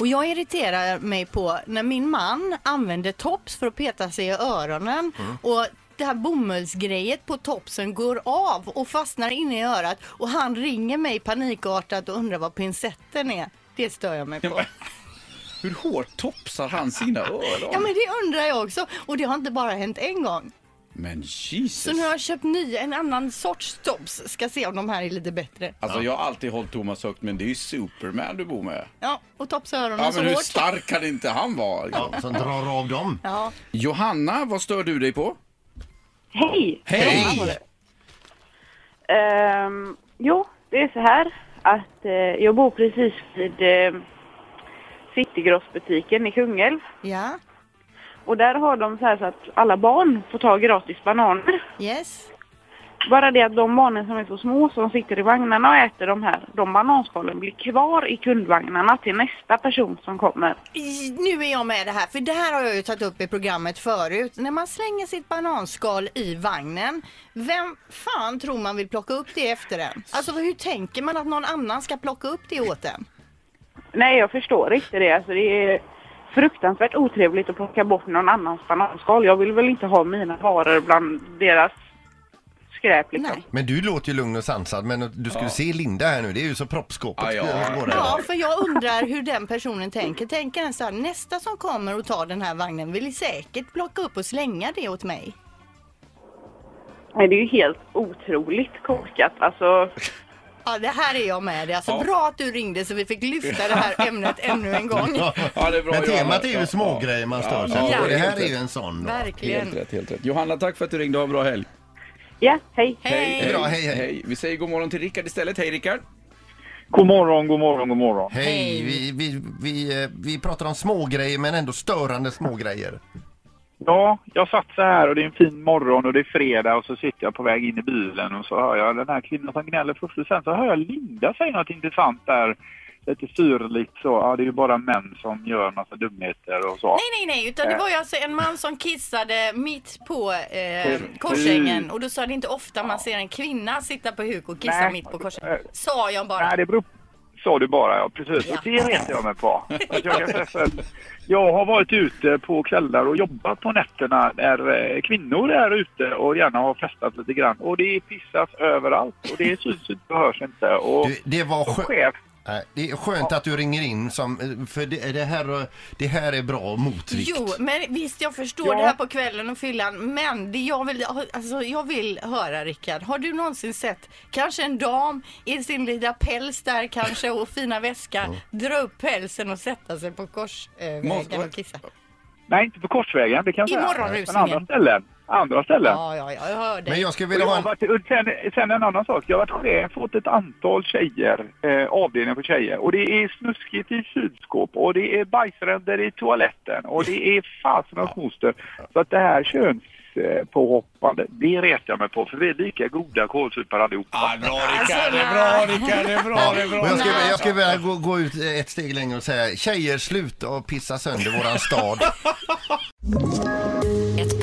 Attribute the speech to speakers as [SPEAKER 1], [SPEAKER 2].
[SPEAKER 1] Och jag irriterar mig på när min man använder tops för att peta sig i öronen
[SPEAKER 2] Mm.
[SPEAKER 1] och det här bomullsgrejet på topsen går av och fastnar inne i örat och han ringer mig panikartat och undrar vad pincetten är. Det stör jag mig på.
[SPEAKER 2] Hur hårt topsar han sina öron?
[SPEAKER 1] Ja men det undrar jag också och det har inte bara hänt en gång.
[SPEAKER 2] Men Jesus!
[SPEAKER 1] Så nu har jag köpt ny, en annan sorts tops. Ska se om de här är lite bättre.
[SPEAKER 2] Alltså jag har alltid hållit Thomas högt men det är ju Superman du bor med.
[SPEAKER 1] Ja, och topsa öronen
[SPEAKER 2] Ja
[SPEAKER 1] så
[SPEAKER 2] men hur
[SPEAKER 1] hårt.
[SPEAKER 2] stark kan inte han vara?
[SPEAKER 3] Ja, som drar av dem.
[SPEAKER 1] Ja.
[SPEAKER 2] Johanna, vad stör du dig på?
[SPEAKER 4] Hej!
[SPEAKER 2] Hej!
[SPEAKER 4] Ehm, jo, det är så här att eh, jag bor precis vid eh, Citygrossbutiken i Kungälv.
[SPEAKER 1] ja,
[SPEAKER 4] Och där har de så här så att alla barn får ta gratis bananer.
[SPEAKER 1] yes.
[SPEAKER 4] Bara det att de barnen som är så små som sitter i vagnarna och äter de här, de bananskalen blir kvar i kundvagnarna till nästa person som kommer.
[SPEAKER 1] I- Nu är jag med det här, för det här har jag ju tagit upp i programmet förut. När man slänger sitt bananskal i vagnen, vem fan tror man vill plocka upp det efter en? Alltså hur tänker man att någon annan ska plocka upp det åt en?
[SPEAKER 4] Nej, jag förstår inte det. Alltså, det är fruktansvärt otrevligt att plocka bort någon annans bananskal. Jag vill väl inte ha mina varor bland deras skräp liksom.
[SPEAKER 1] Nej.
[SPEAKER 3] Men du låter ju lugn och sansad, men du skulle se Linda här nu, det är ju så
[SPEAKER 2] Ja,
[SPEAKER 3] proppskåpet
[SPEAKER 2] ja.
[SPEAKER 3] går där.
[SPEAKER 1] Ja, för jag undrar hur den personen tänker. Tänker den så här, nästa som kommer och tar den här vagnen vill säkert plocka upp och slänga det åt mig.
[SPEAKER 4] Nej, det är ju helt otroligt korkat. Alltså,
[SPEAKER 1] Ja, det här är jag med dig. Alltså,
[SPEAKER 2] Ja.
[SPEAKER 1] Bra att du ringde så vi fick lyfta det här ämnet ännu en gång.
[SPEAKER 2] Ja, det är bra,
[SPEAKER 3] men temat är
[SPEAKER 2] Johanna.
[SPEAKER 3] ju smågrejer man stör sig
[SPEAKER 2] Ja,
[SPEAKER 3] på.
[SPEAKER 1] ja.
[SPEAKER 3] Och det här är ju en sån. då.
[SPEAKER 2] Helt
[SPEAKER 1] Verkligen.
[SPEAKER 2] rätt, helt rätt. Johanna, tack för att du ringde. Ha en bra helg.
[SPEAKER 4] ja, hej.
[SPEAKER 1] Hej!
[SPEAKER 3] Bra, hej, hej.
[SPEAKER 2] Vi säger god morgon till Rickard istället. Hej Rickard!
[SPEAKER 5] God morgon, god morgon, god morgon.
[SPEAKER 3] Hej, vi, vi, vi, eh, vi pratar om smågrejer men ändå störande smågrejer.
[SPEAKER 5] Ja, jag satt så här och det är en fin morgon och det är fredag och så sitter jag på väg in i bilen och så hör jag den här kvinnan som gnäller först och sen så hör jag Linda säga något intressant där. Lite syrligt så. Ja, det är ju bara män som gör massa dumheter och så.
[SPEAKER 1] Nej, nej, nej, utan det var ju alltså en man som kissade mitt på eh, korsängen och då sa det inte ofta man ser en kvinna sitta på huk och kissa
[SPEAKER 5] Mm. Nej.
[SPEAKER 1] mitt på korsängen. Sa jag bara.
[SPEAKER 5] Nej, det beror Sa du bara, ja precis.
[SPEAKER 1] Ja.
[SPEAKER 5] Och det retar jag mig på. Att jag, kan träffa... jag har varit ute på kvällar och jobbat på nätterna när eh, kvinnor är ute och gärna har festat lite grann. Och det pissas överallt och det syns inte och hörs inte. Och
[SPEAKER 3] Du, det var skö-
[SPEAKER 5] chef
[SPEAKER 3] Nej, Det är skönt att du ringer in som, eh, för det, det, här, eh, det här är bra motvikt.
[SPEAKER 1] Jo, men visst jag förstår
[SPEAKER 5] Ja.
[SPEAKER 1] det här på kvällen och fyllan. Men det jag vill, alltså, jag vill höra Rickard, har du någonsin sett kanske en dam i sin lilla päls där kanske och fina väska dra upp pälsen och sätta sig på korsvägen och kissa?
[SPEAKER 5] Nej, inte på Korsvägen, det kan jag
[SPEAKER 1] I
[SPEAKER 5] säga. Men
[SPEAKER 1] morgonrusningen.
[SPEAKER 5] andra ställen. Andra ställen.
[SPEAKER 1] Ja, ja, ja, jag hör dig.
[SPEAKER 3] Men jag skulle
[SPEAKER 5] Och
[SPEAKER 3] vilja
[SPEAKER 5] jag
[SPEAKER 3] ha
[SPEAKER 5] har
[SPEAKER 3] en...
[SPEAKER 5] varit, och sen, sen en annan sak. Jag har varit chef åt ett antal tjejer, eh, avdelning för tjejer. Och det är snuskigt i kylskåp och det är bajsränder i toaletten och det är fasen och moster. Så att det här könspåhoppande, det retar jag mig på för vi är lika goda kålsupare allihopa.
[SPEAKER 2] Ah, bra Rickard, det är bra Rickard, det är bra, det är
[SPEAKER 3] Och
[SPEAKER 2] bra.
[SPEAKER 3] jag skulle, jag skulle vilja gå, gå ut eh, ett steg längre och säga tjejer sluta och pissa sönder våran stad.
[SPEAKER 6] Ett